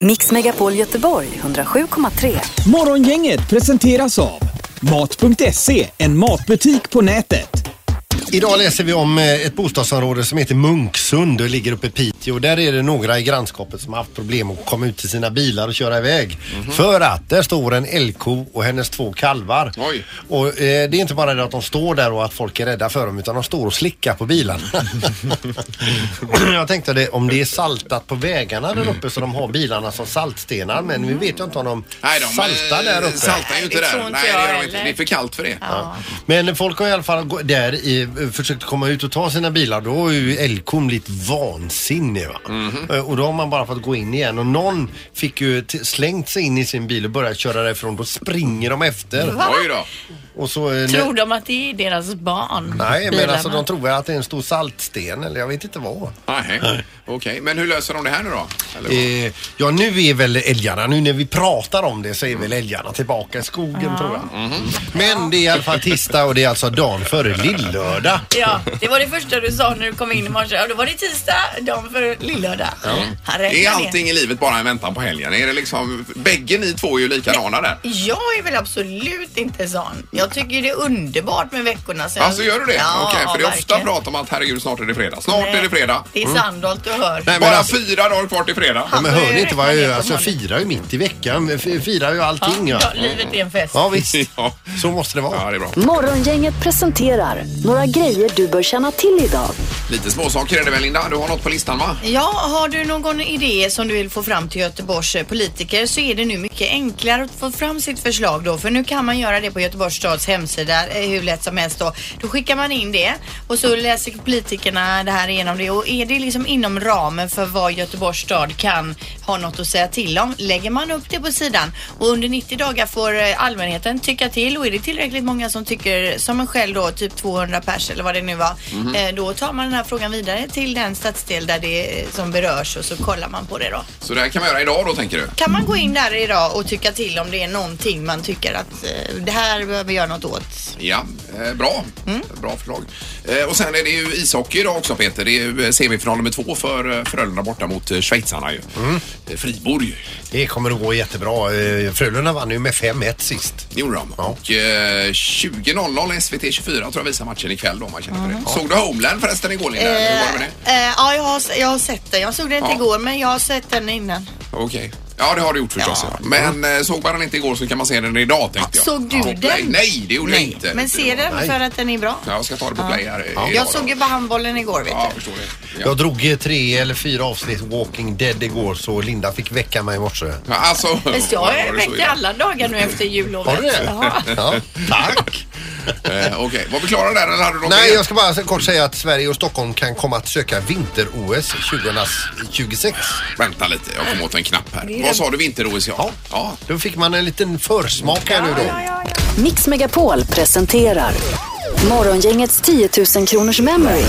Mix Megapol Göteborg 107,3. Morgongänget presenteras av Mat.se, en matbutik på nätet. Idag läser vi om eh, ett bostadsområde som heter Munksund och ligger uppe i Piteå. Där är det några i grannskapet som har haft problem att komma ut till sina bilar och köra iväg. Mhm. För att där står en älgko och hennes två kalvar. Oj. Och eh, det är inte bara det att de står där och att folk är rädda för dem utan de står och slickar på bilarna. jag tänkte det, om det är saltat på vägarna Mm. där uppe så de har bilarna som saltstenar. Men vi vet ju inte om de, Nej, de eh, saltar där uppe. Saltar ju inte Det där. tror inte Nej, jag det, gör de inte. heller. det är för kallt för det. Ja. Men folk har i alla fall gå- där i, eh, försökt komma ut och ta sina bilar. Då har ju Elkom blivit vansinnig. Va? Mhm. Eh, Och då har man bara fått gå in igen. Och någon fick ju t- slängt sig in i sin bil och börjat köra därifrån. Då springer de efter. Oj då. Och så, eh, Tror när- de att det är deras barn? Nej, men bilarna? alltså de tror väl att det är en stor saltsten eller jag vet inte vad. Nej. Okej, men hur löser de det här nu då? Eller vad? Eh, ja, nu är väl älgarna, nu när vi pratar om det så är väl älgarna tillbaka i skogen tror jag. Mhm. Men det är i alla fall tisdag och det är alltså dagen före lillördag. Ja, det var det första du sa när du kom in i morse. Ja, då var det tisdag, dagen för lillördag. Han räknar Mm. Är ner. allting i livet bara en väntan på helgen? Är det liksom, bägge ni två är ju likadana där. Jag är väl absolut inte sån. Jag tycker det är underbart med veckorna. Så jag- Alltså gör du det? Ja, Okej, för det är ofta verkligen. prat om att herregud snart är det fredag. Snart Nej, är det fredag. Mm. Det är Sandholt du hör. Nej, men Bara alltså- fyra dagar kvar till fredag. Han Men börjar hör ni inte vad jag räkna gör? ner på Alltså jag måndag. firar ju mitt i veckan. F- Firar ju allting. ja, Ja, alltså- livet är en fest. ja visst. Ja. Så måste det Ja, vara. det är bra. Morgongänget presenterar några grejer du bör känna till idag. Lite småsaker är det väl Linda? Du har något på listan va? Ja, har du någon idé som du vill få fram till Göteborgs eh, politiker så är det nu mycket enklare att få fram sitt förslag då. För nu kan man göra det på Göteborgs stads hemsida eh, hur lätt som helst då. Då skickar man in det och så läser politikerna det här igenom det. Och är det liksom inom ramen för vad Göteborgs stad kan ha något att säga till om lägger man upp det på sidan. Och under 90 dagar får eh, allmänheten tycka till och är det tillräckligt många som tycker som en själv då, typ 200 pers eller vad det nu var, eh, då tar man den här frågan vidare till den stadsdel där det eh, som berörs och så kollar man på det då. Så det här kan man göra idag då tänker du? Kan man gå in där idag och tycka till om det är någonting man tycker att eh, det här behöver göra något åt? Ja, eh, bra. Mm. Bra förslag. Eh, och sen är det ju ishockey idag också Peter. Det är ju eh, semifinal nummer två för eh, Frölunda borta mot eh, schweizarna ju. Mm. Eh, Friborg Det kommer att gå jättebra. Eh, Frölunda vann ju med 5-1 sist. gjorde de. Ja. Och eh, 20.00 SVT 24 tror jag visar matchen ikväll då om man känner för det. Mm. Såg du Homeland förresten igår Linda? Hur var det med det? Eh, eh, ja, jag har, jag har sett den. Jag såg den inte Ja. igår men jag har sett den innan. Okej. Ja, det har du gjort förstås. Ja. Men eh, såg man den inte igår så kan man se den idag tänkte jag. Såg du ja. den? Nej, nej, det gjorde jag inte. Men se den Nej. för att den är bra. Ja, Jag ska ta det på play här idag Jag då. såg ju bara handbollen igår vet Ja, du. jag förstår det. Ja. Jag drog eh, tre eller fyra avsnitt Walking Dead igår så Linda fick väcka mig i morse. Ja, Alltså, Fast jag var det har så väckt illa? alla dagar nu efter jullovet. Har du det? Ja. Ja, tack. Eh, Okej, var vi klara där eller hade du något Nej, mer? jag ska bara kort säga att Sverige och Stockholm kan komma att söka vinter-OS 2026. Vänta lite, jag kom åt en knapp här. Vad sa du, vinter-OS? Ja. ja. Då fick man en liten försmak här nu då. Mix Megapol presenterar Morgongängets 10 000 kronors memory.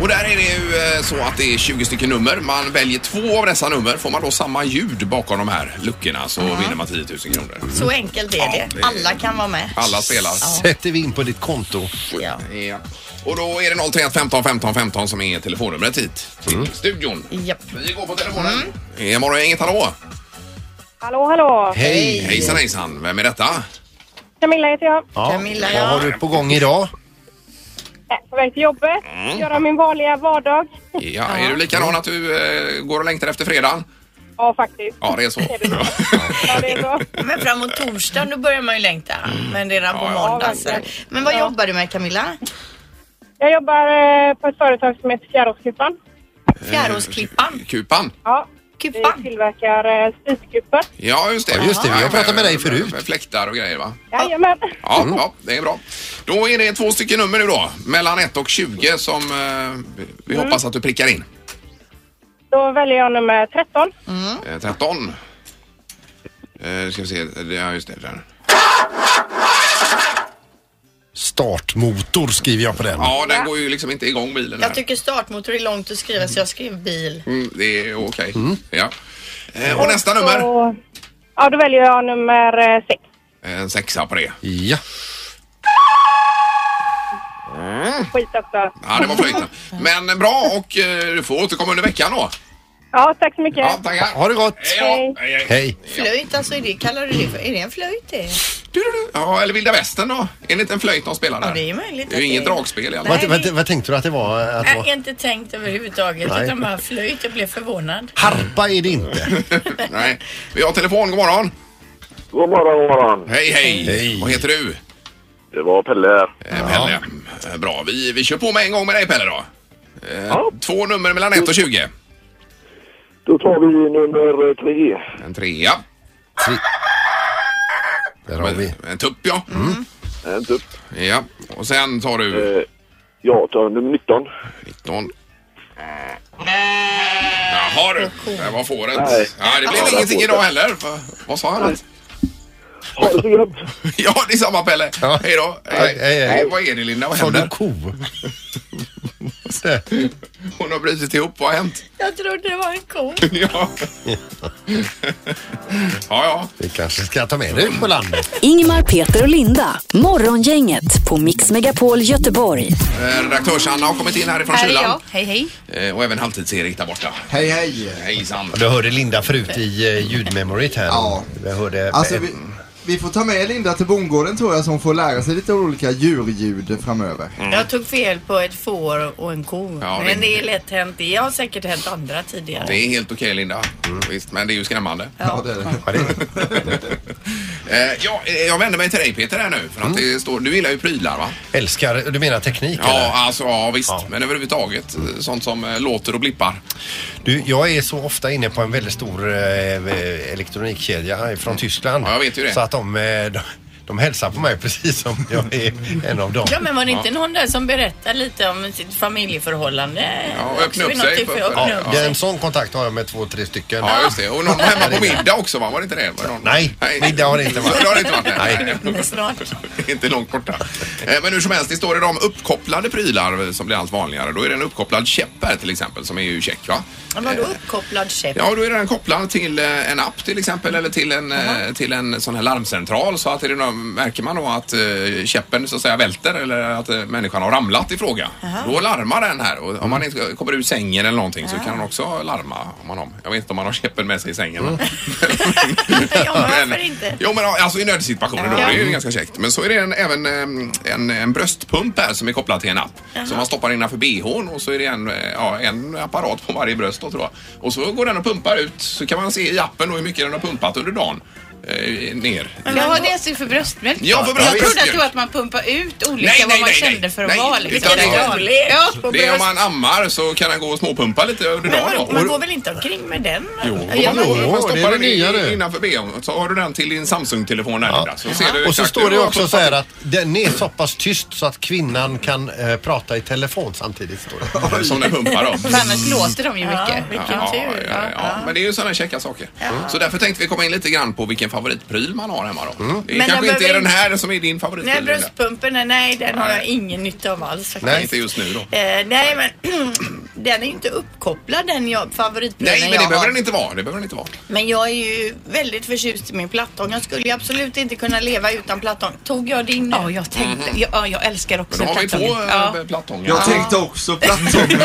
Och där är det ju eh, så att det är 20 stycken nummer. Man väljer två av dessa nummer. Får man då samma ljud bakom de här luckorna så vinner man 10 000 kronor. Så enkelt är Ja, det. det är- Alla kan vara med. Alla spelar. Sätter vi in på ditt konto. Ja. Ja. Och då är det 031 15 15 15 som är telefonnumret hit till Mm. studion. Japp. Vi går på telefonen. Mm. Imorgon är inget hallå. Hallå, hallå! Hej! Hejsan hejsan. Vem är detta? Camilla heter jag. Ja, Camilla, ja. Vad har du på gång idag? Jag är Äh, På väg till jobbet, Mm. göra min vanliga vardag. Ja, Är du likadan att du eh, går och längtar efter fredagen? Ja, faktiskt. Ja, det är så. Ja, det är bra. Men framåt torsdagen då börjar man ju längta. Men redan på Mm. Ja, ja. måndag. Ja, Så. verkligen. Men vad Ja. jobbar du med Camilla? Jag jobbar eh, på ett företag som heter Fjäråsklippan. Eh, Fjäråsklippan? Kupan. Ja, vi Kupan? tillverkar eh, spiskuppor. Ja, just det. Ja, just det. Vi har Ja, pratat med dig men- förut. men Fläktar och grejer, va? Jajamän. Ja, Mm. ja, det är bra. Då är det två stycken nummer nu då, mellan 1 och 20 som eh, vi Mm. hoppas att du prickar in. Då väljer jag nummer 13. Mm. Eh, 13. Eh, ska vi se, Det- ja just det. Där. Startmotor skriver jag på den. Ja, den går ju liksom inte igång bilen. Jag Här. tycker startmotor är långt att skriva så jag skrev bil. Mm, det är okej. Ja. Eh, och nästa nummer, Så, ja, då väljer jag nummer eh, 6. Eh, en sexa på det. Ja. Skit också. Mm. Mm. Ja, det var flöjten. Men bra och eh, du får återkomma under veckan då. Ja, tack så mycket. Ja, tackar. Ha det gott! Hej då. Hej, hej. Hej! Flöjt, alltså är det, kallar du det för? Är det en flöjt det? Du, du, du. Ja, eller vilda västern då? Är det inte en flöjt de spelar där? Ja, det är möjligt Det är ju att inget det är. dragspel i alla fall. Nej. Äh, Vad, vad, vad tänkte du att det var? Att det Jag har var? inte tänkt överhuvudtaget Nej. utan bara flöjt. Jag blev förvånad. Harpa är det inte. Nej. Vi har telefon, god morgon. God morgon, god morgon. Hej, hej. Hej. Vad heter du? Det var Pelle här. Eh, Pelle. Eh, Bra, vi, vi kör på med en gång med dig Pelle då. Eh, Ja. Två nummer mellan 1 och 20. Då tar vi nummer tre. En trea. Tre- Där har vi. Mm. En tupp ja. En tupp. Ja, och sen tar du Eh, Jag tar nummer 19. 19. Jaha du, det var fåret. Nej. Ja, det Ja, blev det ingenting var idag heller. Va- Vad sa han? att- Ha det så gött! Ja, det är samma Pelle. Ja. Hej då. Hej, hej, hej. Vad är det Linda? Vad Sa du händer? ko? Hon har brutit ihop. Vad har hänt? Jag trodde det var en ko. Ja. ja, ja. Vi kanske ska ta med dig ut på landet. Ingmar, Peter och Linda. Morgongänget på Mix Megapol Göteborg. Eh, Redaktörs-Anna har kommit in härifrån Här är kylan. jag. Hej, hej. Eh, Och även halvtids-Erik där borta. Hej hej! Hejsan. Du hörde Linda förut i eh, ljudmemoryt här. Ja. Jag hörde... Alltså vi, Mm. vi får ta med Linda till bondgården tror jag som får lära sig lite olika djurljud framöver. Mm. Jag tog fel på ett får och en ko. Ja, men det- det är lätt hänt. Det har säkert hänt andra tidigare. Det är helt okej Linda. Visst, men det är ju skrämmande. Ja, det är det. Mm. Ja, det- Eh, ja, eh, jag vänder mig till dig Peter här nu. För att Mm. det står, du gillar ju prylar va? Älskar, du menar teknik Ja, eller? alltså, ja visst. Ja. Mm. Men överhuvudtaget eh, sånt som eh, låter och blippar. Du, jag är så ofta inne på en väldigt stor eh, elektronikkedja från Tyskland. Ja, jag vet ju det. Så att de, eh, de, de hälsar på mig precis som jag är en av dem. Ja men var det inte någon där som berättade lite om sitt familjeförhållande? Ja, och öppna Också upp vid något sig tillfälle. för- Öppna Ja, typ upp det är sig. en sån kontakt har jag med två, tre stycken. Ja, just det. Och någon var hemma på middag också va? Var det inte det? Var det någon? Nej, middag har det inte varit. Det har det inte varit. Nej. Men Snart. Det är inte långt borta. Eh, Men hur som helst, det står idag om uppkopplade prylar eh, som blir allt vanligare. Då är det en uppkopplad käpp här till exempel som är ju check va? Ja, Vadå uppkopplad käpp? Ja, då är den kopplad till eh, en app till exempel eller till en, eh, till en sån här larmcentral så att är det någon, märker man då att eh, käppen så att säga välter eller att eh, människan har ramlat i fråga. Då larmar den här och om man inte kommer ur sängen eller någonting så kan den också larma. Om man har, jag vet inte om man har käppen med sig i sängen. men- Ja, men varför inte? Jo men alltså i nödsituationer då, det är ju ganska käckt. Men så är det en, även eh, en, en bröstpump här som är kopplad till en app. Som man stoppar innanför bhn och så är det en, eh, ja, en apparat på varje bröst då tror jag. Och så går den och pumpar ut så kan man se i appen då hur mycket den har pumpat under dagen. Eh, ner. Jaha, det är alltså för bröstmjölk? Ja, för Jag trodde att bröstmjölk. det var att man pumpar ut olika Nej, vad nej, man nej, kände nej. för att Nej, vara utan liksom. det är- Ja, Det är om man ammar så kan den gå och småpumpa lite under Men dagen vadå, då. man går väl inte omkring med den? Ja, man, Jo, man stoppar det är det den i- nya det. innanför bhn så har du den till din Samsung-telefon där ja. så ser du Och så exakt står hur det du har också pumpat så här att den är så pass tyst så att kvinnan kan eh, prata i telefon samtidigt. Står det. Som den pumpar då. För annars låter de ju mycket. Vilken Ja, ja, tur. ja, men det är ju sådana käcka saker. Mm. Så därför tänkte vi komma in lite grann på vilken favoritpryl man har hemma då. Mm. Det Men kanske jag inte är behöver den här som är din favoritpryl. Nej, Linda. bröstpumpen, nej, nej den har Nej. jag ingen nytta av alls faktiskt. Nej, inte just nu då. Eh, nej, men den är ju inte uppkopplad den jag, favoritbilen Nej, men jag det behöver har. den inte vara. Det behöver den inte vara. Men jag är ju väldigt förtjust i min plattång. Jag skulle ju absolut inte kunna leva utan plattång. Tog jag din nu? Ja, jag tänkte. Ja, ja, jag älskar Men också då har vi två plattan. Ja. ja. plattångar. Jag Ja. tänkte också plattformen.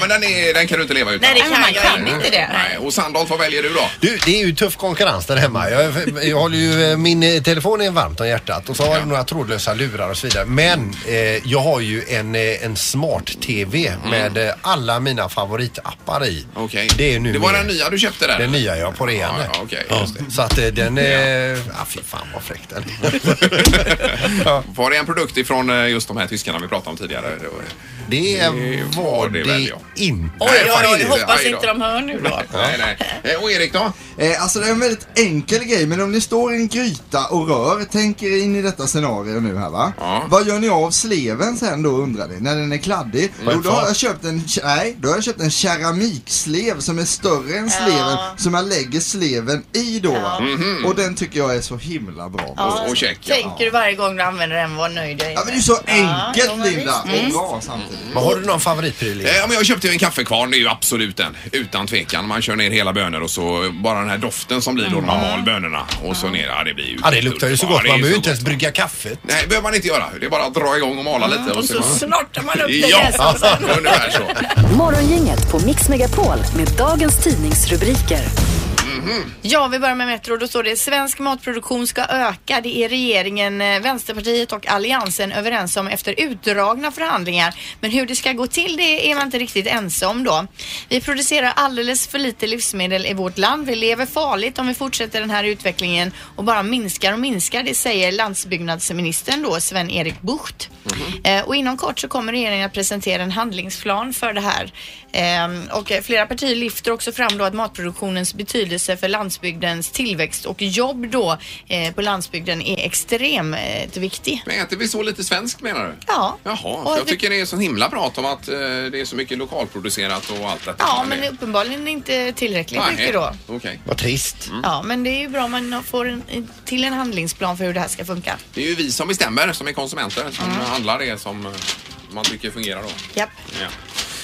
men den, är, den kan du inte leva utan. Nej, det Nej, men kan man jag kan inte. inte det. Nej, och Sandholt, vad väljer du då? Du, det är ju tuff konkurrens där hemma. Jag, jag håller ju, eh, min eh, telefon är varmt om hjärtat och så har jag några trådlösa lurar och så vidare. Men eh, jag har ju en, eh, en smart-TV med eh, alla mina favoritappar i. Mm. Okej. Det är nu Det var den nya du köpte där? Den nya jag på rean. Ja, ja, okej, just Så att eh, den är... Ja, fy fan vad fräck den är. Var det en produkt ifrån eh, just de här tyskarna vi pratade om tidigare? Det var- Det var var det det, väl, ja. inte. Oj, oj, fan, oj, inte. hoppas Aj då. inte de hör nu då. Nej, nej. Eh, Och Erik då? Eh, alltså det är en väldigt enkel grej, men om ni står i en gryta och rör, tänk er in i detta scenario nu här va. Ja. Vad gör ni av sleven sen då undrar ni, när den är kladdig? Mm. Jo, då har jag köpt en, nej, då har jag köpt en keramikslev som är större än sleven, som jag lägger sleven i då va. Och den tycker jag är så himla bra. Ja, Mhm. Och check. ja. Tänker du varje gång du använder den, var nöjd jag är. men det är så Ja, enkelt ja, men Linda, visst. och bra samtidigt. Men har du någon favoritpryl? Ingmar? Eh, Ja, men jag köpte ju en kaffekvarn, det är ju absolut den. Utan tvekan. Man kör ner hela bönor och så bara den här doften som blir då när man mal bönorna. Och så ner, ja det blir ju... Ja, Ah, det luktar ju så Ja, gott. det är Man behöver ju inte gott. ens brygga kaffet. Nej, det behöver man inte göra. Det är bara att dra igång och mala lite. Och så snortar man upp det Ja, där som sen. ungefär så. Morgongänget på Mix Megapol med dagens tidningsrubriker. Mhm. Ja, vi börjar med Metro. Då står det svensk matproduktion ska öka. Det är regeringen, eh, Vänsterpartiet och Alliansen överens om efter utdragna förhandlingar. Men hur det ska gå till det är man inte riktigt ense om då. Vi producerar alldeles för lite livsmedel i vårt land. Vi lever farligt om vi fortsätter den här utvecklingen och bara minskar och minskar. Det säger landsbyggnadsministern då, Sven-Erik Bucht. Eh, och inom kort så kommer regeringen att presentera en handlingsplan för det här. Ehm, och eh, flera partier lyfter också fram då att matproduktionens betydelse för landsbygdens tillväxt och jobb då eh, på landsbygden är extremt eh, viktig. Men äter vi så lite svenskt menar du? Ja. Jaha, Och för jag vi- tycker det är så himla prat om att eh, det är så mycket lokalproducerat och allt detta. Ja, men uppenbarligen inte tillräckligt mycket då. Okej. Mm. Vad trist. Ja, men det är ju bra om man får en, en- till en handlingsplan för hur det här ska funka. Det är ju vi som bestämmer som är konsumenter som Mm. handlar det som eh, man tycker fungerar då. Japp. Ja.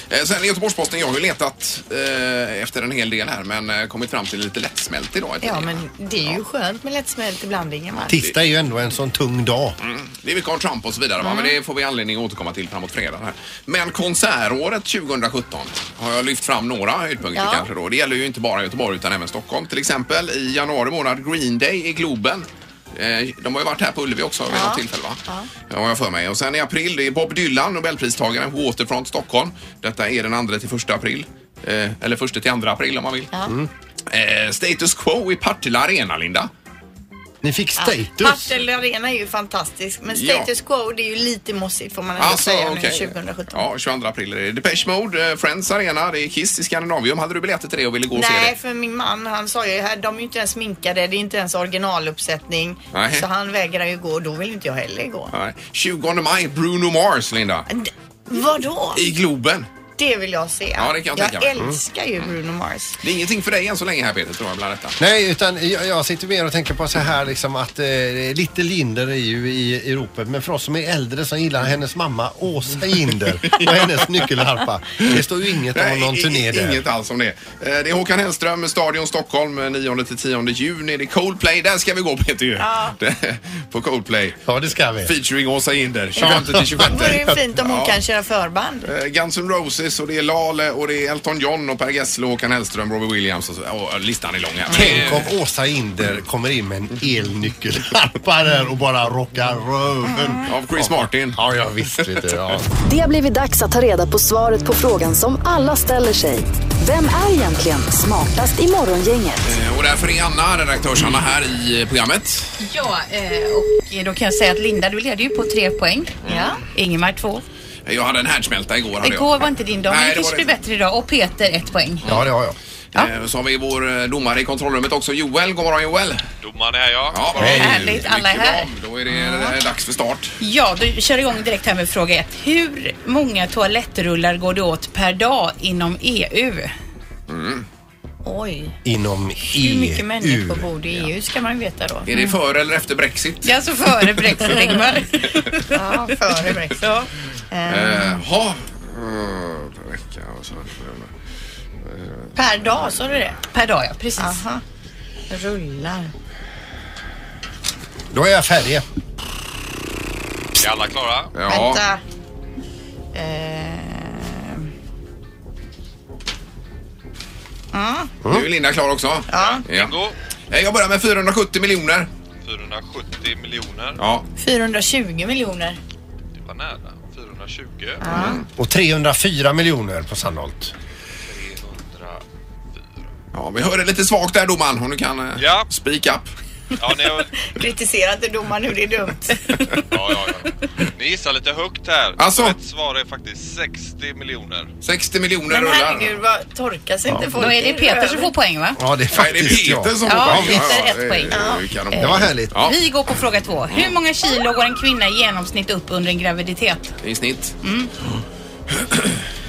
Eh, Sen Göteborgs-Posten, jag har ju letat eh, efter en hel del här men eh, kommit fram till lite lättsmält idag. Ja, men det är ju skönt med lättsmält ibland, Ingemar. Tisdag är ju ändå en sån tung dag. Mm. Det är mycket om Trump och så vidare va? men Mm. det får vi anledning att återkomma till framåt fredag. Här. Men konsertåret 2017 har jag lyft fram några höjdpunkter Ja. kanske då. Det gäller ju inte bara Göteborg utan även Stockholm till exempel. I januari månad Green Day i Globen. Eh, De har ju varit här på Ullevi också vid något tillfälle va? Ja. Har jag för mig. Och sen i april det är Bob Dylan, Nobelpristagaren, Waterfront Stockholm. Detta är den andra till första april. Eh, Eller första till andra april om man vill. Eh, Status Quo i Partille Arena, Linda. Ni fick status. Partille Arena är ju fantastisk, men Ja. status quo det är ju lite mossigt får man ändå Alltså, säga okej. nu 2017. Ja, 22 april är det. Depeche Mode, eh, Friends Arena, det är Kiss i Scandinavium. Hade du biljetter till det och ville gå och se Nej, det? för min man han sa ju här, de är ju inte ens sminkade, det är inte ens originaluppsättning. Nej. Så han vägrar ju gå och då vill inte jag heller gå. Nej. 20 maj, Bruno Mars, Linda. D- vadå? I Globen. Det vill jag se. Ja, det kan jag tänka mig. Mm. älskar ju Bruno Mars. Det är ingenting för dig än så länge här Peter, tror jag, bland detta. Nej, utan jag, jag sitter mer och tänker på så här liksom att eh, Little Linder är ju i, i ropet. Men för oss som är äldre som gillar hennes mamma Åsa Jinder och hennes nyckelharpa. Det står ju inget om någon i- turné i- där. Inget alls om det. Eh, Det är Håkan Hellström, Stadion Stockholm, eh, 9-10 juni. Det är Coldplay, där ska vi gå Peter ju. Det- På Coldplay. Ja, det ska vi. Featuring Åsa Jinder, 25-26. Vore ju fint om hon Ja. kan köra förband. Eh, Guns N' Roses och det är Lale och det är Elton John och Per Gessle och Håkan Hellström, Robbie Williams och så. Och listan är lång här. Mm. Tänk om Åsa Jinder kommer in med en elnyckelharpa där och bara rockar röven. Mm. Av Chris Martin. Ja, ja visst vet du. Ja. Det har blivit dags att ta reda på svaret på frågan som alla ställer sig. Vem är egentligen smartast i morgongänget? Eh, Och därför är Anna, redaktörs-Anna, här i eh, programmet. Ja, eh, och då kan jag säga att Linda, du leder ju på tre poäng. Ja. Ingemar två. Eh, Jag hade en härdsmälta igår. hade jag. Igår var inte din dag, Nej, men det det kanske var blir det. bättre idag. Och Peter ett poäng. ja, det har jag. Eh, Så har vi vår eh, domare i kontrollrummet också, Joel. God morgon Joel. Domaren är här ja. Ja, vad Härligt, alla är Mycket här. bra. Då är det eh, dags för start. Ja, du kör igång direkt här med fråga ett. Hur många toalettrullar går det åt per dag inom E EU? Mm. Oj, Inom E hur mycket EU. människor bor det i EU ska man ju veta då. Mm. Är det före eller efter Brexit? Det är alltså före Brexit, Ingmar. Ja, före Brexit. Ja. Eh, Ja. Eh, per vecka och så. Per dag, sa du det? Per dag, ja. Precis. Aha. Rullar. Då är jag färdig. Är alla klara? Ja. Vänta. Eh, Mm. Nu är Linda klar också. Ja. Bingo. Eh, Jag börjar med 470 miljoner. 470 miljoner. Ja. 420 miljoner. Det var nära. 420. Mm. Och 304 miljoner på Sandholt. 300. ja, vi hörde lite svagt där domaren om du kan eh, Ja. speak up. Ja, ni, har- Kritisera inte domaren nu, det är dumt. ja, ja, ja. ni gissar lite högt här. Alltså? Rätt svar är faktiskt 60 miljoner. 60 miljoner Men rullar. herregud, vad torkas inte folk? Då är det Peter som får poäng, va? Ja, det är Nej, det är faktiskt Peter jag. som Ja, får poäng. Peter, ett det är poäng. ju kanon. Det var härligt. Ja. Vi går på fråga två. Hur många kilo går en kvinna i genomsnitt upp under en graviditet? I snitt. Mm.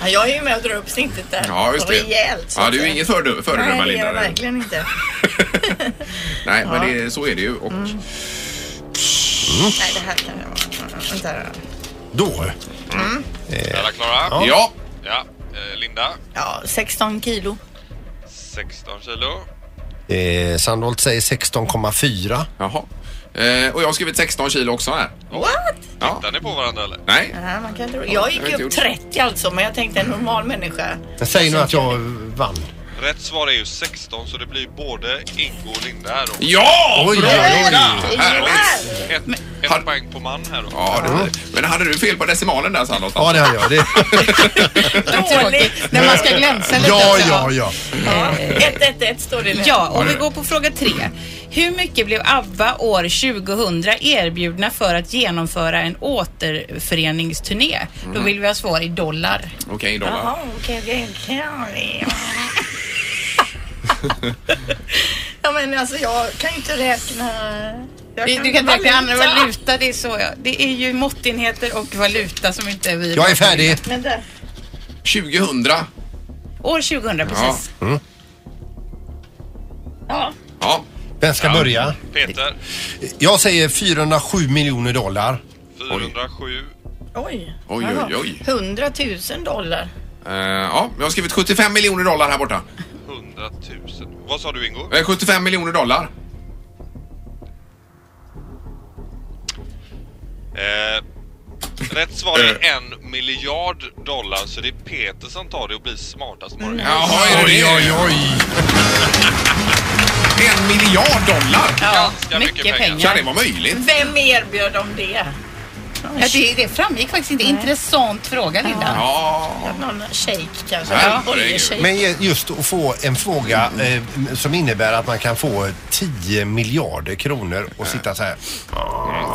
Ja, jag är ju med och drar upp snittet där. Ja, just det. Rejält. så ja, att du är säga. ju inget föredö- Nej, föredöme, det är Linda. jag Nej, verkligen inte. Mm. Nej men det, så är det ju. Och, Mm. Nej, det här kan jag vara. Vänta då. Mm. Då. Är Eh, alla klara? Ja. Ja. Ja. Eh, Linda, Ja, 16 kilo. 16 kilo. Eh, Sandholt säger 16,4. Jaha. Eh, och jag har skrivit 16 kilo också här. What? Ja. Tittar ni på varandra eller? Nej. Ja, man kan tro. Jag har gick inte upp gjort. 30 alltså, men jag tänkte en normal människa. Men Säg nu att jag vann. Rätt svar är ju 16 så det blir både Ingo och Linda här då. Ja! Oj, bra, oj, oj. Linda! Härligt! Ett, ett poäng på man här då. Ja, det blir det. Men hade du fel på decimalen där Sandholt? Ja, det hade jag. Det... Tråkigt. När man ska glänsa lite. Ja, alltså. ja, ja. 111 står det nu. Ja, och vi går på fråga tre. Hur mycket blev ABBA år 2000 erbjudna för att genomföra en återföreningsturné? Då Mm. vill vi ha svar i dollar. Okej, då. va? Jaha, okej, okej, okej. Ja, men alltså jag kan ju inte räkna. Jag Du, du kan tänka dig andra valuta. valuta, det är så ja. Det är ju måttenheter och valuta som inte vi... Jag är färdig. Vänta. 2000. År 2000 precis. Mm. Ja. Vem ska börja? Peter, Jag säger 407 miljoner dollar. 407. Oj. Oj, Jaha. oj, oj. 100 000 dollar. Eh, ja, jag har skrivit 75 miljoner dollar här borta. 100 000. Vad sa du Ingo? Eh, 75 miljoner dollar. Eh, rätt svar är en miljard dollar så det är Peter som tar det och blir smartast imorgon. Mm. Jaha, är det Oj, det? oj, oj. En miljard dollar? Ja, Ganska mycket mycket pengar. pengar. Kan det vara möjligt? Vem erbjöd dem det? Ja, det, det framgick faktiskt inte. Intressant fråga Linda. Ja. Någon shake kanske? Ja, Någon oljeshake? Men ju- just att få en fråga eh, som innebär att man kan få 10 miljarder kronor och sitta så här.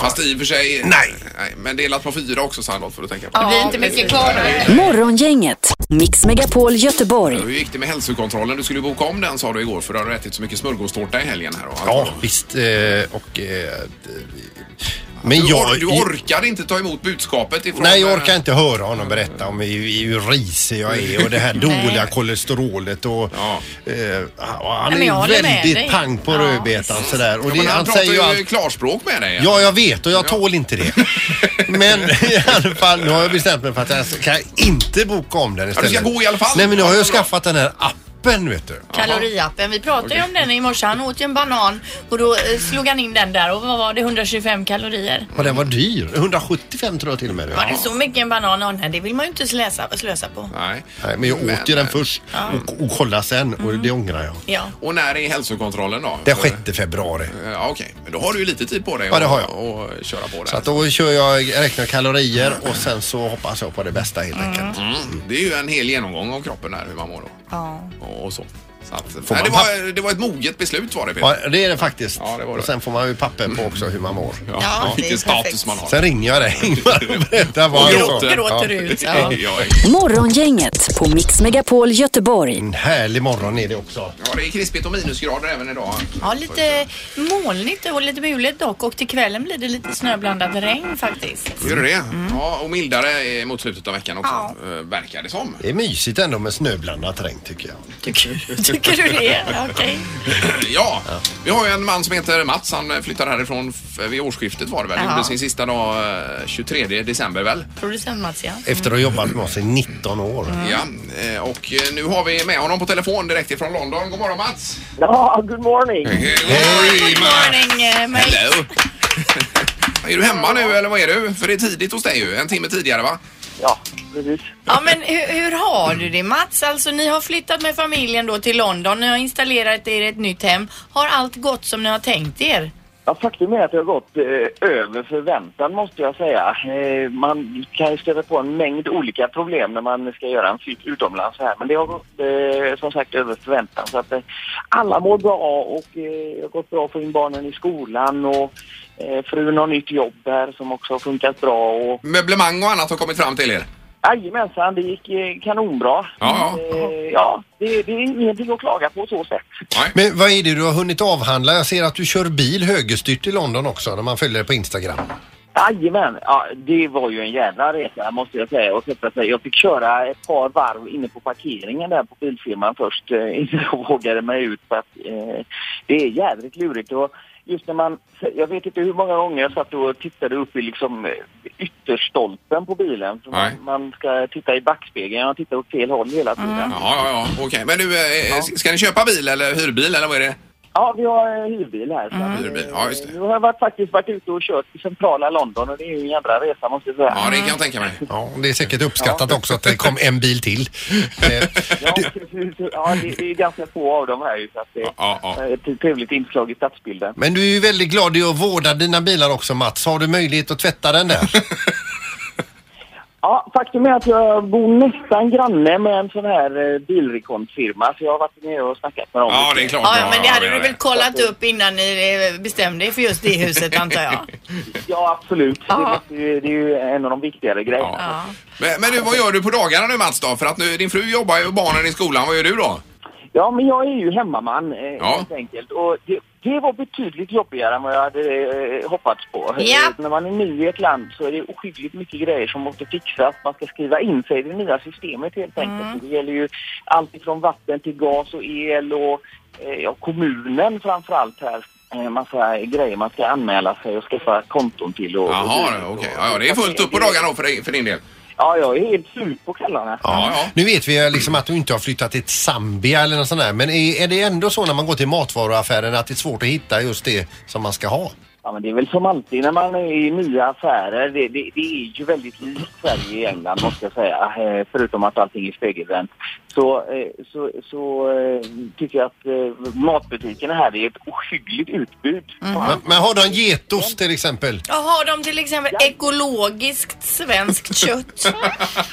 Fast i och för sig... Nej. Nej, Men delat på fyra också Sandholt får du tänka på. Det blir inte mycket kvar då. Morgongänget, Mix Megapol Göteborg. Hur gick det med hälsokontrollen? Du skulle boka om den sa du igår för du har ätit så mycket smörgåstårta i helgen här. Och allt Ja, vad- visst. eh, Och... eh, Men du, jag... or- du orkar inte ta emot budskapet ifrån... eh, Nej, jag orkar inte höra honom berätta om hur, hur risig jag är och det här dåliga kolesterolet och... Ja. eh, och han Nej, men jag är håller med väldigt dig. pang på Ja, rödbetan sådär. Och Ja, det, men han, han pratar säger ju ju allt. klarspråk med dig. Ja, jag vet och jag tål inte det. Men i alla fall, nu har jag bestämt mig för att jag ska inte boka om den ska istället. gå i alla fall. Nej, men nu har Ja, jag bra. skaffat den här appen, vet du. Kaloriappen. Vi pratade ju om den i morse. Han åt ju en banan och då eh, slog han in den där och vad var det? 125 kalorier. Och den var dyr. 175 tror jag till och med. det var. Var det så mycket en banan? Ja, nej, det vill man ju inte slösa, slösa på. Nej. Nej, men jag åt ju den först och, och kollade sen och Mm. det ångrar jag. Ja. Och när är hälsokontrollen då? Den För- 6 februari. Eh, Ja, okej. Men då har du ju lite tid på dig Ja, det har jag. Och, och köra på det. Så att då kör jag, räknar kalorier och sen så hoppas jag på det bästa helt enkelt. Mm. Det är ju en hel genomgång av kroppen här, hur man mår då. Och, och så. så att, nej, man det, var, det var ett moget beslut var det Peter. Ja, det är det faktiskt. Ja, det var det. Och sen får man ju papper på också hur man mår. Ja, det är vilken status perfekt. man har. Sen ringer jag dig Ingmar och berättar vad jag gråter. Gråter ut. ja. Ja. Morgongänget på Mix Megapol Göteborg. En härlig morgon är det också. Mm. ja, det är krispigt och minusgrader även idag. ja, lite molnigt och lite mulet dock och till kvällen blir det lite snöblandat regn faktiskt. Gör det det? Mm. Ja, och mildare eh, mot slutet av veckan också, ja. verkar det som. Det är mysigt ändå med snöblandat regn tycker jag. Tycker, tycker du det? Okej. Ja, vi har ju en man som heter Mats. Han flyttar härifrån f- vid årsskiftet var det väl? Jaha. Gjorde sin sista dag eh, 23 december väl? Producent Mats, ja. Efter att Mm. ha jobbat med oss i 19 år. Mm. Ja, eh, och eh, nu har vi med honom på telefon direkt ifrån London. God morgon Mats! Ja, good morning. Hej Good morning, eh, mate. Hello! är du hemma nu eller vad är du? För det är tidigt hos dig ju. En timme tidigare va? Ja, precis. Ja, men hur, hur har du det Mats? Alltså, ni har flyttat med familjen då till London. Ni har installerat er i ett nytt hem. Har allt gått som ni har tänkt er? Ja, faktum är att det har gått eh, över förväntan måste jag säga. Eh, man kan ju stöta på en mängd olika problem när man ska göra en flytt utomlands så här. Men det har gått eh, som sagt över förväntan. Så att, eh, alla mår bra och eh, det har gått bra att få in barnen i skolan och eh, frun har nytt jobb här som också har funkat bra. Och, Möblemang och annat har kommit fram till er. jajamensan, det gick eh, kanonbra. Ja, ja. Eh, ja det, det är ingenting att klaga på så sätt. Men vad är det du har hunnit avhandla? Jag ser att du kör bil högerstyrt i London också när man följer det på Instagram. Jajamän, ja, det var ju en jävla resa måste jag säga att sätta sig. Jag fick köra ett par varv inne på parkeringen där på bilfirman först eh, innan jag vågade mig ut för att eh, det är jädrigt lurigt. Och just när man, jag vet inte hur många gånger jag satt och tittade upp i liksom eh, ytterstolpen på bilen. För Nej. man, man ska titta i backspegeln, jag tittar åt fel håll hela tiden. Mm. Ja, ja, ja. Okej, men du, eh, eh, ska ni köpa bil eller hyrbil eller vad är det? Ja, vi har eh, hyrbil här. Så att, Mm. Hyrbil, eh, ja, just det. Nu har jag varit, faktiskt varit ute och kört i centrala London och det är ju en jädra resa måste jag säga. Ja, det kan jag tänka mig. Ja, det är säkert uppskattat också att det kom en bil till. Eh, Ja, precis. ja det, det är ganska få av dem här ju, så att det Ja, ja. är ett trevligt inslag i stadsbilden. Men du är ju väldigt glad i att vårda dina bilar också Mats. Har du möjlighet att tvätta den där? Ja, faktum är att jag bor nästan granne med en sån här eh, bilrekontfirma så jag har varit nere och snackat med dem. eh, Ja, det är klart. Ja, ja, men det hade du menar väl kollat upp innan ni eh, bestämde er för just det huset antar jag. Ja, absolut. Det, Ja. måste ju, det är ju en av de viktigare grejerna. Ja. Men, men du, vad gör du på dagarna nu Mats då? För att nu, din fru jobbar ju och barnen i skolan. Vad gör du då? Ja, men jag är ju hemmaman eh, Ja. helt enkelt. Och det, det var betydligt jobbigare än vad jag hade eh, hoppats på. Ja. Eh, När man är ny i ett land så är det ohyggligt mycket grejer som måste fixas. Man ska skriva in sig i det nya systemet helt enkelt. Mm. Så Det gäller ju allt ifrån vatten till gas och el och eh, ja, kommunen framför allt här. Eh, Massa grejer man ska anmäla sig och skaffa konton till. Och, och Jaha, dylikt. okej. Och- Ja, ja, det är fullt upp på dagarna då för, dig, för din del. Ja, jag är helt slut på kvällarna. Ja, ja. Nu vet vi ju liksom att du inte har flyttat till Zambia eller något sånt där. Men är, är det ändå så när man går till matvaruaffären att det är svårt att hitta just det som man ska ha? Ja, men det är väl som alltid när man är i nya affärer. Det, det, det är ju väldigt likt Sverige i England, måste jag säga. Eh, Förutom att allting är spegelvänt. Så, eh, så, så eh, tycker jag att eh, matbutikerna här är ett ohyggligt Mm. utbud. Men, men har du en getost till exempel? Och har de till exempel ekologiskt svenskt kött?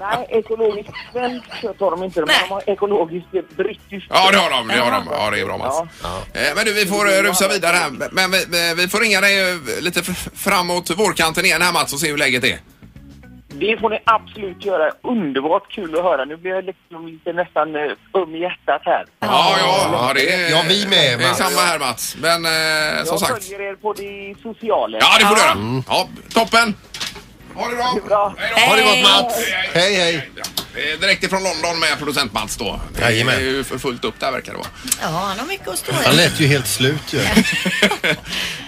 Nej, ekologiskt svenskt kött har de inte. Men Nej. de har ekologiskt eh, brittiskt. Ja, det har de. Det har de. Ja, det är bra Mats. Eh, Men du, vi får eh, rusa vidare här. Men vi, vi- vi får ringa dig eh, lite f- framåt vårkanten igen här Mats och se hur läget är. Det får ni absolut göra. Underbart kul att höra. Nu blir jag liksom lite nästan eh, öm i hjärtat här. Ja, ja, ja, det är, Ja, vi med, det är Mats. samma här Mats. Men eh, som Jag sagt. följer er på de sociala. Ja, det får du göra. Ja, toppen. Ha det bra. bra. Hej då. Mm. Ha det gott Mats! Hej, hej. Hej hej! Ja, eh, Direkt ifrån London med producent Mats då. Det är Jajamän. ju för fullt upp där verkar det vara. Ja, han har mycket att stå Han i. lät ju helt slut ju.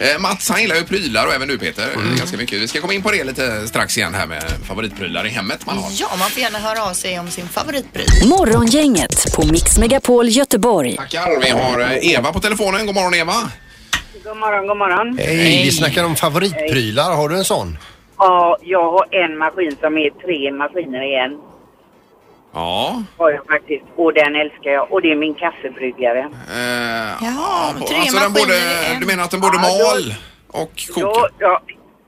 Eh, Mats han gillar ju prylar och även du Peter. Mm. Ganska mycket. Vi ska komma in på det lite strax igen här med favoritprylar i hemmet man har. Ja, man får gärna höra av sig om sin favoritpryl. Morgongänget på Mix Megapol Göteborg. Tackar. Vi har eh, Eva på telefonen. God morgon Eva. God morgon, god morgon. Hej, vi snackar om favoritprylar. Har du en sån? Ja, jag har en maskin som är tre maskiner i en. Ja. Har jag faktiskt. Och den älskar jag. Och det är min kaffebryggare. Eh, tre alltså, den maskiner i både, en. Du menar att den både Ja, mal och Då, kokar? ja,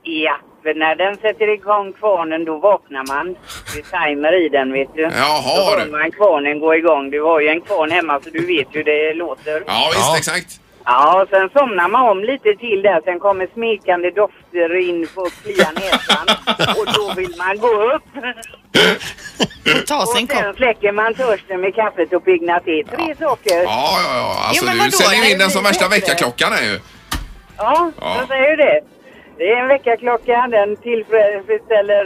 ja, för när den sätter igång kvarnen då vaknar man. Det är timer i den vet du. Jaha, då hör du. man kvarnen gå igång. Du har ju en kvarn hemma så du vet ju hur det låter. Ja, visst, Ja. exakt. Ja, och sen somnar man om lite till där. Sen kommer smekande dofter in på klia näsan. Och då vill man gå upp. Ta Och sig en kopp. sen släcker man törsten med kaffet och piggnar till. Tre saker. Ja, Ja, ja, ja. Alltså, men du vadå? säljer Det in den som blir värsta bättre. väckarklockan är ju. Ja. jag säger ju det. Det är en väckarklocka. Den tillfredsställer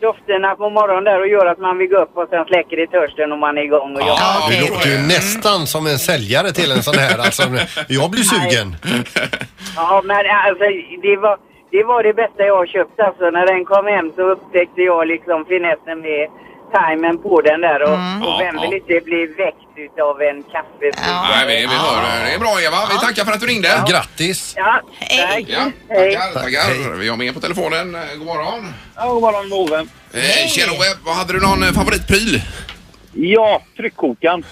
dofterna på morgonen där och gör att man vill gå upp och sen släcker det törsten och man är igång och jobbar. Ja, Du det låter ju är- nästan som en säljare till en sån här. Alltså, jag blir sugen. Ja, men alltså det var, det var det bästa jag köpt alltså. När den kom hem så upptäckte jag liksom finessen med timern på den där och, och vem Ja, vill ja. inte bli väckt utav en kaffe? Ja. Nej, vi, vi hör. Det är bra, Eva. Vi tackar för att du ringde. Grattis! Ja, Hej. tack. Ja, Hej. tackar, tackar. Vi har med på telefonen. Eh, God morgon. Ja, god morgon Ove. Hej. Tjena Ove, vad hade du någon eh, favoritpryl? Eh, Ja, tryckkokaren.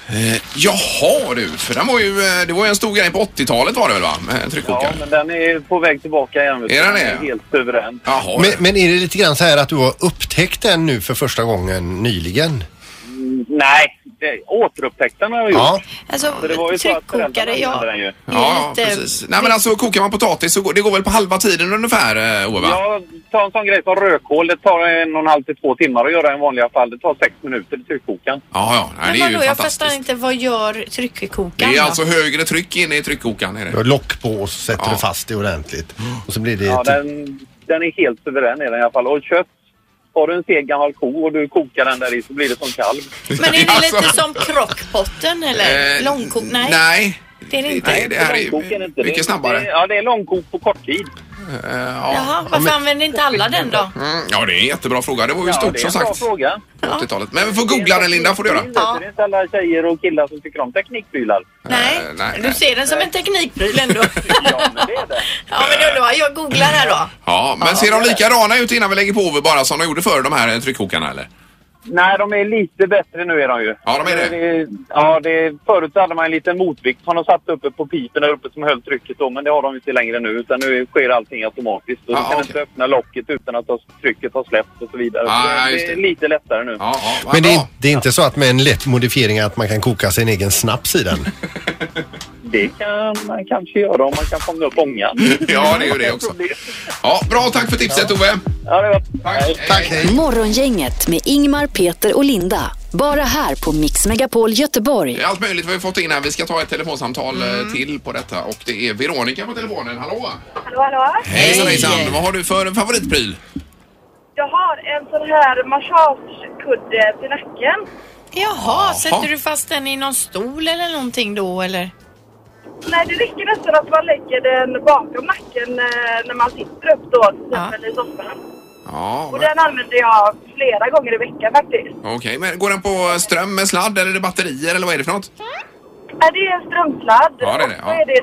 Jaha du, för den var ju, eh, det var ju en stor grej på 80-talet var det väl va? Eh, Med en Ja, Tryckkokare. men den är på väg tillbaka igen. vet du. Är den det? är Helt suverän. Jaha. Men, men är det lite grann så här att du har upptäckt den nu för första gången nyligen? Mm, Nej, det, återupptäckten har jag gjort. Ja. Alltså, Så det var ju så att tryckkokare, föräldrarna ja. hade den ju. det är Ja, lite- precis. Nej men alltså kokar man potatis så går, det går väl på halva tiden ungefär eh, Ove? va? Ja, ta en sån grej som rödkål. Det tar en och en halv till två timmar att göra i vanliga fall. Det tar sex minuter i tryckkokaren. ja, ja. Nej, Men det är vadå, ju jag fattar fantastiskt. inte. Vad gör Det tryckkokaren är då? alltså högre tryck inne i tryckkokaren. Är Du har det. lock på och så sätter Ja. du fast det ordentligt. Och så blir det... Ja, typ- den den är helt suverän är den i alla fall. Och kött, har du en seg gammal ko och du kokar den där i så blir det som kalv. Men är det Alltså, lite som krockpotten eller eh, långkok? Nej. Nej. Det är det inte. Nej, det här är Långkok är det ju inte. Det är- mycket snabbare. det är- Ja, det är långkok på kort tid. Eh, ja. Jaha, varför använder inte alla den då? Mm, ja, det är en jättebra fråga. Det var ju Ja, stort det är som en bra sagt fråga. på 80-talet. Men vi får googla den Linda, får du göra. Det är inte alla tjejer och killar som tycker om teknikprylar. Nej. Eh, nej, Du nej. ser den som en teknikpryl ändå. Ja, men det är det. ja, men då, då, jag googlar här då. Ja, men ser de likadana ut innan vi lägger på över bara som de gjorde förr, de här eh, tryckkokarna eller? Nej, de är lite bättre nu är de ju. Ja, de är det. ja, det, förut hade man en liten motvikt som de satte uppe på pipen där uppe som höll trycket då, men det har de inte längre nu utan nu sker allting automatiskt. Och Ah, du kan okej. inte öppna locket utan att ha- trycket har släppt och så vidare. Ah, så det, just det är det. lite lättare nu. Ja, ja, vad Men det är, bra. det är inte så att med en lätt modifiering att man kan koka sin egen snaps i den? Det kan man kanske göra om man kan fånga upp ångan. Ja, det är ju det också. Ja, bra, tack för tipset Ove. Ja, det var... Tack. Tack. Morgongänget med Ingmar, Peter och Linda. Bara här på Mix Megapol Göteborg. Allt möjligt vi har fått in här. Vi ska ta ett telefonsamtal eh, Mm. till på detta och det är Veronica på telefonen. Hallå! Hallå, hallå. Hejsan hejsan! Vad har du för favoritpryl? Jag har en sån här massagekudde till nacken. Jaha, Jaha. sätter du fast den i någon stol eller någonting då eller? Nej, det räcker nästan att man lägger den bakom nacken eh, när man sitter upp då, till Ja. exempel i soffan. Ja, Och men- den använder jag flera gånger i veckan faktiskt. okej. Men går den på ström med sladd eller är det batterier eller vad är det för något? Är det är en strömsladd Ja, det är det, och ja. så är det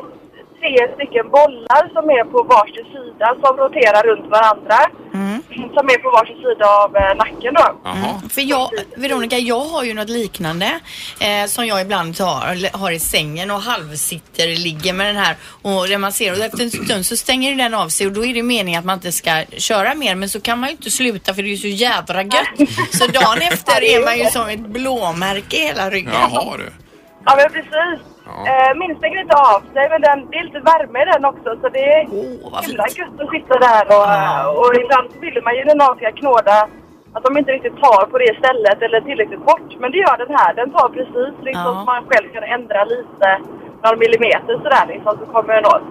tre stycken bollar som är på varsin sida som roterar runt varandra. Mm. Som är på varsin sida av eh, nacken då. Jaha. För jag, Veronica, jag har ju något liknande eh, som jag ibland tar, har i sängen och halvsitter, ligger med den här och när man ser och efter en stund så stänger ju den av sig och då är det meningen att man inte ska köra mer men så kan man ju inte sluta för det är ju så jädra gött. Så dagen efter är man ju som ett blåmärke i hela ryggen. Jaha du. Ja, men precis. Ja. Eh, min stänger inte av sig, men den, det är lite värme i den också så det är Åh, vad himla fint. gött att sitta där. Och, och ibland så vill man ju när någon ska knåda att de inte riktigt tar på det stället eller tillräckligt bort. Men det gör den här. Den tar precis liksom Ja. så man själv kan ändra lite, några millimeter sådär liksom så kommer den åt.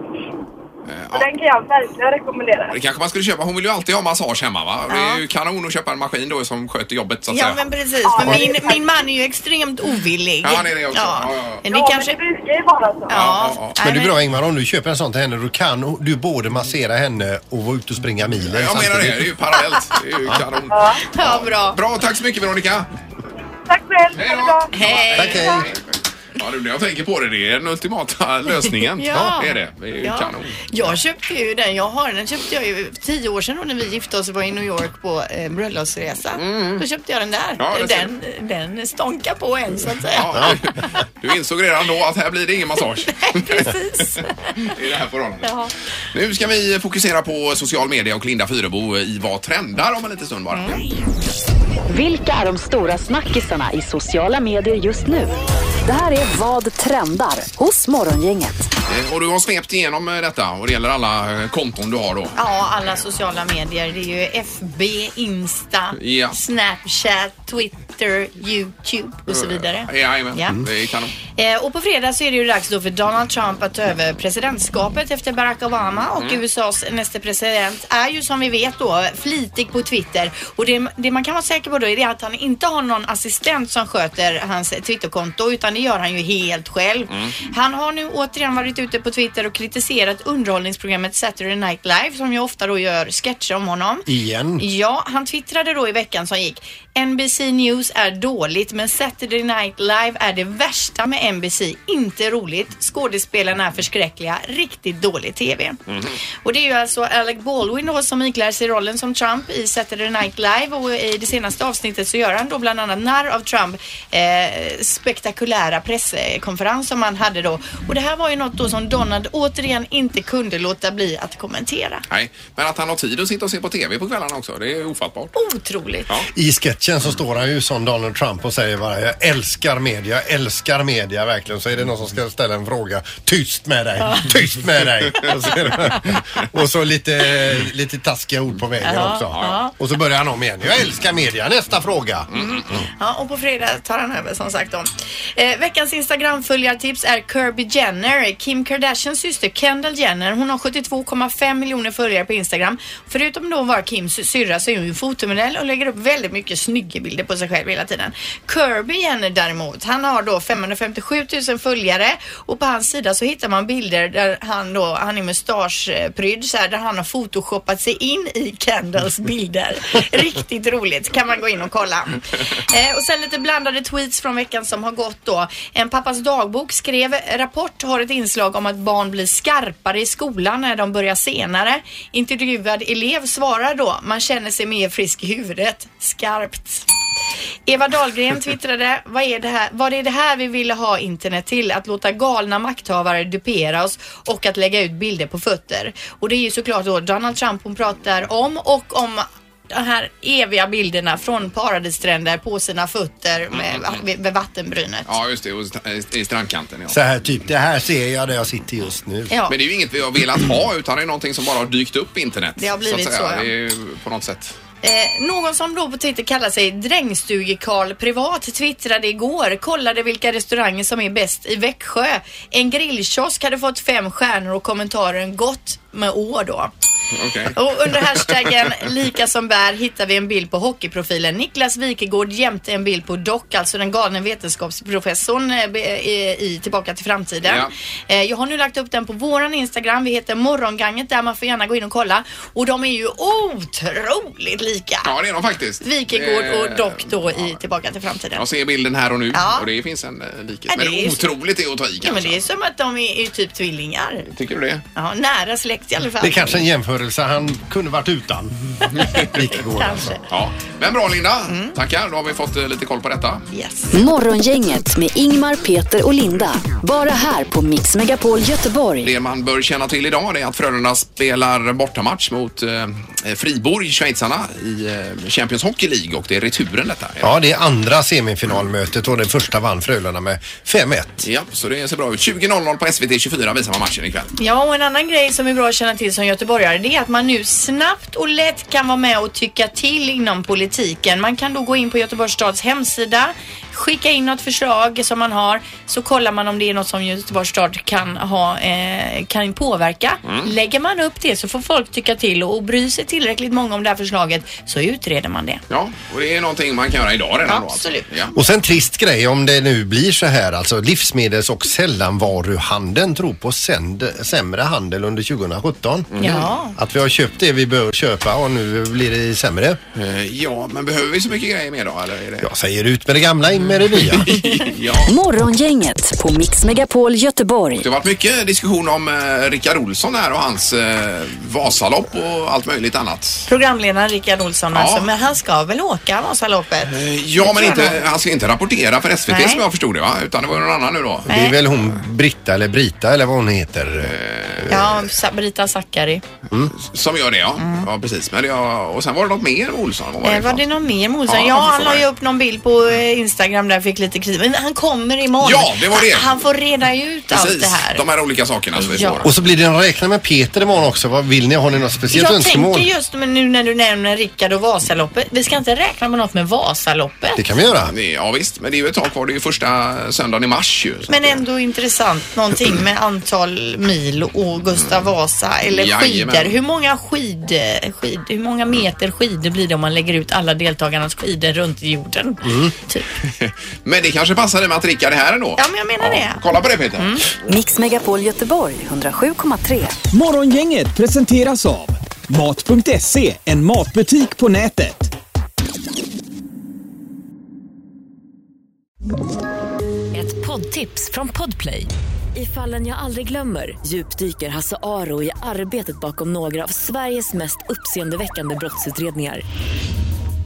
Eh, Så ja. den kan jag verkligen rekommendera. Det kanske man skulle köpa. Hon vill ju alltid ha massage hemma va? Det är ju kanon att köpa en maskin då som sköter jobbet så att Ja säga. men precis, för min, min man är ju extremt ovillig. Ja, det är det också. Ja, ja, ja. Men Ja, det men kanske... det brukar ju vara så. Ja, ja. Nej, Men det är bra Ingmar, om du köper en sån till henne då kan du både massera henne och vara ute och springa milen Jag menar det, det samtidigt. är ju parallellt. Det är ju kanon. Ja, bra. Bra, tack så mycket Veronica. Tack själv! Hej Ha det då. bra. Hej! Tack, hej. Ja, nu när jag tänker på det, det är den ultimata lösningen. Ja. Det är det. Det är ju Ja. kanon. Jag köpte ju den, jag har den, den köpte jag ju för tio år sedan då när vi gifte oss och var i New York på eh, bröllopsresa. Då köpte jag den där. Mm. Ja, det ser den, den stånkar på en så att säga. Ja, du insåg redan då att här blir det ingen massage. Precis. Det är det här förhållandet. Ja. Nu ska vi fokusera på social media och Linda Fyrebo i Vad trendar om en liten stund bara. Mm. Vilka är de stora snackisarna i sociala medier just nu? Det här är Vad trendar hos Morgongänget. Eh, Och du har svept igenom eh, detta och det gäller alla eh, konton du har då. ja, alla sociala medier. Det är ju FB, Insta, Ja. Snapchat, Twitter, Youtube och så vidare. Eh, Jajamän, Ja. det är kanon. Eh, och på fredag så är det ju dags då för Donald Trump att ta över presidentskapet efter Barack Obama och USAs nästa president är ju som vi vet då flitig på Twitter och det, det man kan vara säker på då är det att han inte har någon assistent som sköter hans Twitterkonto utan det gör han ju helt själv. Han har nu återigen varit ute på Twitter och kritiserat underhållningsprogrammet Saturday Night Live som ju ofta då gör sketcher om honom. Igen. Ja, han twittrade då i veckan som gick. NBC News är dåligt men Saturday Night Live är det värsta med NBC. Inte roligt. Skådespelarna är förskräckliga. Riktigt dålig TV. Och det är ju alltså Alec Baldwin då som iklär sig rollen som Trump i Saturday Night Live och i det senaste avsnittet så gör han då bland annat narr av Trump eh, spektakulära presskonferens som han hade då. Och det här var ju något då som Donald återigen inte kunde låta bli att kommentera. Nej, men att han har tid att sitta och se på TV på kvällarna också, det är ofattbart. Otroligt. I sketchen så står han ju som Donald Trump och säger bara jag älskar media, jag älskar media verkligen. Så är det någon som ska ställa en fråga. Tyst med dig, tyst med dig. Och så, är det- och så lite, lite taskiga ord på vägen också. Och så börjar han om igen. Jag älskar media, nästa fråga. Ja, och på fredag tar han över som sagt då. Eh, veckans Instagram-följartips är Kirby Jenner, Kim Kardashians syster Kendall Jenner. Hon har 72,5 miljoner följare på Instagram. Förutom då att vara Kims syrra så är hon ju fotomodell och lägger upp väldigt mycket snygga bilder på sig själv hela tiden. Kirby Jenner däremot, han har då 557 000 följare och på hans sida så hittar man bilder där han då, han är mustaschprydd så här, där han har photoshoppat sig in i Kendalls bilder. Riktigt roligt, kan man gå in och kolla. Eh, och sen lite blandade tweets från veckan som har gått då. En pappas dagbok skrev Rapport har ett inslag om att barn blir skarpare i skolan när de börjar senare. Intervjuad elev svarar då Man känner sig mer frisk i huvudet. Skarpt. Eva Dahlgren twittrade, vad är det här, vad är det här vi ville ha internet till? Att låta galna makthavare dupera oss och att lägga ut bilder på fötter. Och det är ju såklart då Donald Trump hon pratar om och om de här eviga bilderna från paradisstränder på sina fötter med, med, med vattenbrynet. Ja, just det. Och st- eh, I strandkanten, ja. Så här typ, det här ser jag där jag sitter just nu. Ja. Men det är ju inget vi har velat ha utan det är någonting som bara har dykt upp på internet. Det har blivit att säga. så, ja. Det är ju på något sätt. Eh, någon som då på Twitter kallar sig Drängstuge-Karl privat twittrade igår, kollade vilka restauranger som är bäst i Växjö. En grillkiosk hade fått fem stjärnor och kommentaren gott med å då. Okej. Och under hashtaggen lika som bär hittar vi en bild på hockeyprofilen Niklas Wikegård jämte en bild på Doc, alltså den galne vetenskapsprofessorn eh, be- eh, i Tillbaka till framtiden. Ja. Eh, Jag har nu lagt upp den på våran Instagram. Vi heter Morgonganget där man får gärna gå in och kolla. Och de är ju otroligt lika. Ja, det är de faktiskt. Wikegård Eh, och Doc då i Tillbaka till framtiden. Jag ser bilden här och nu Ja. och det finns en eh, likhet. Ja, det men är ju- otroligt är alltså. att ta i kanske. Ja, men det är som att de är, är typ tvillingar. Tycker du det? Ja, nära släkt i alla fall. Det är kanske en jämförelse han kunde varit utan. Wikegård alltså. Kanske. Mm. Ja. Men bra Linda. Tackar. Då har vi fått eh, lite koll på detta. Yes. Morgongänget med Ingmar, Peter och Linda. Bara här på Mix Megapol Göteborg. Det man bör känna till idag är att Frölunda spelar bortamatch mot eh, Friborg, schweizarna, i eh, Champions Hockey League och det är returen detta. Ja, det är andra semifinalmötet och den första vann Frölunda med 5-1. Ja, så det ser bra ut. 20.00 på SVT 24 visar man matchen ikväll. Ja, och en annan grej som är bra att känna till som göteborgare det är att man nu snabbt och lätt kan vara med och tycka till inom politiken. Man kan då gå in på Göteborgs stads hemsida, skicka in något förslag som man har, så kollar man om det är något som Göteborgs stad kan, ha, eh, kan påverka. Mm. Lägger man upp det så får folk tycka till och, och bryr sig tillräckligt många om det här förslaget så utreder man det. Ja, och det är någonting man kan göra idag redan Absolut. då. alltså. Och sen trist grej om det nu blir så här alltså livsmedels och sällanvaruhandeln tror på sänd, sämre handel under 2017. Mm. Ja. Att vi har köpt det vi bör köpa och nu blir det sämre. Ja. Eh, ja, men behöver vi så mycket grejer mer då? Eller är det... Mm. Jag säger ut med det gamla, in med det nya. ja. Morgongänget på Mix Megapol Göteborg. Det har varit mycket diskussion om eh, Rickard Olsson här och hans eh, Vasalopp och allt möjligt annat. Programledaren Rickard Olsson Ja. alltså, men han ska väl åka Vasaloppet? Eh, Ja, men inte, han ska inte rapportera för SVT Nej. som jag förstod det va? Utan det var ju någon annan nu då. Det är väl hon Britta eller Brita eller vad hon heter. Eh, Ja, Sa- Brita Zackari. Som gör det ja. Mm. Ja, precis. Men det, ja, och sen var det något mer med Olsson. Vad var Var det, det Eh, var för? det någon mer Olsson? Ja, Ja, jag han förstår la ju det. upp någon bild på eh, Instagram där jag fick lite kritik. Men han kommer imorgon. Ja, det var det. Han får reda ut allt Precis, det här. de här olika sakerna som är Ja. svåra. Och så blir det en räkna med Peter imorgon också. Vad vill ni? Har ni något speciellt jag önskemål? tänker just men nu när du nämner Rickard och Vasaloppet. Vi ska inte räkna med något med Vasaloppet. Det kan vi göra. Det- Ja visst, men det är ju ett tag kvar. Det är ju första söndagen i mars ju. Så Men att- ändå intressant någonting med antal mil och Gustav Vasa eller Mm. Jajamän. skidor. Hur många, skid, skid, hur många meter skidor blir det om man lägger ut alla deltagarnas skidor runt jorden? Mm. Typ. Men det kanske passade med att Rickard är här ändå. Ja, men jag Mm. menar det. Kolla på det Peter. Mix Megapol Göteborg 107,3. Morgongänget presenteras av Mat.se, E, en matbutik på nätet. Ett poddtips från Podplay. I fallen jag aldrig glömmer djupdyker Hasse Aro i arbetet bakom några av Sveriges mest uppseendeväckande brottsutredningar.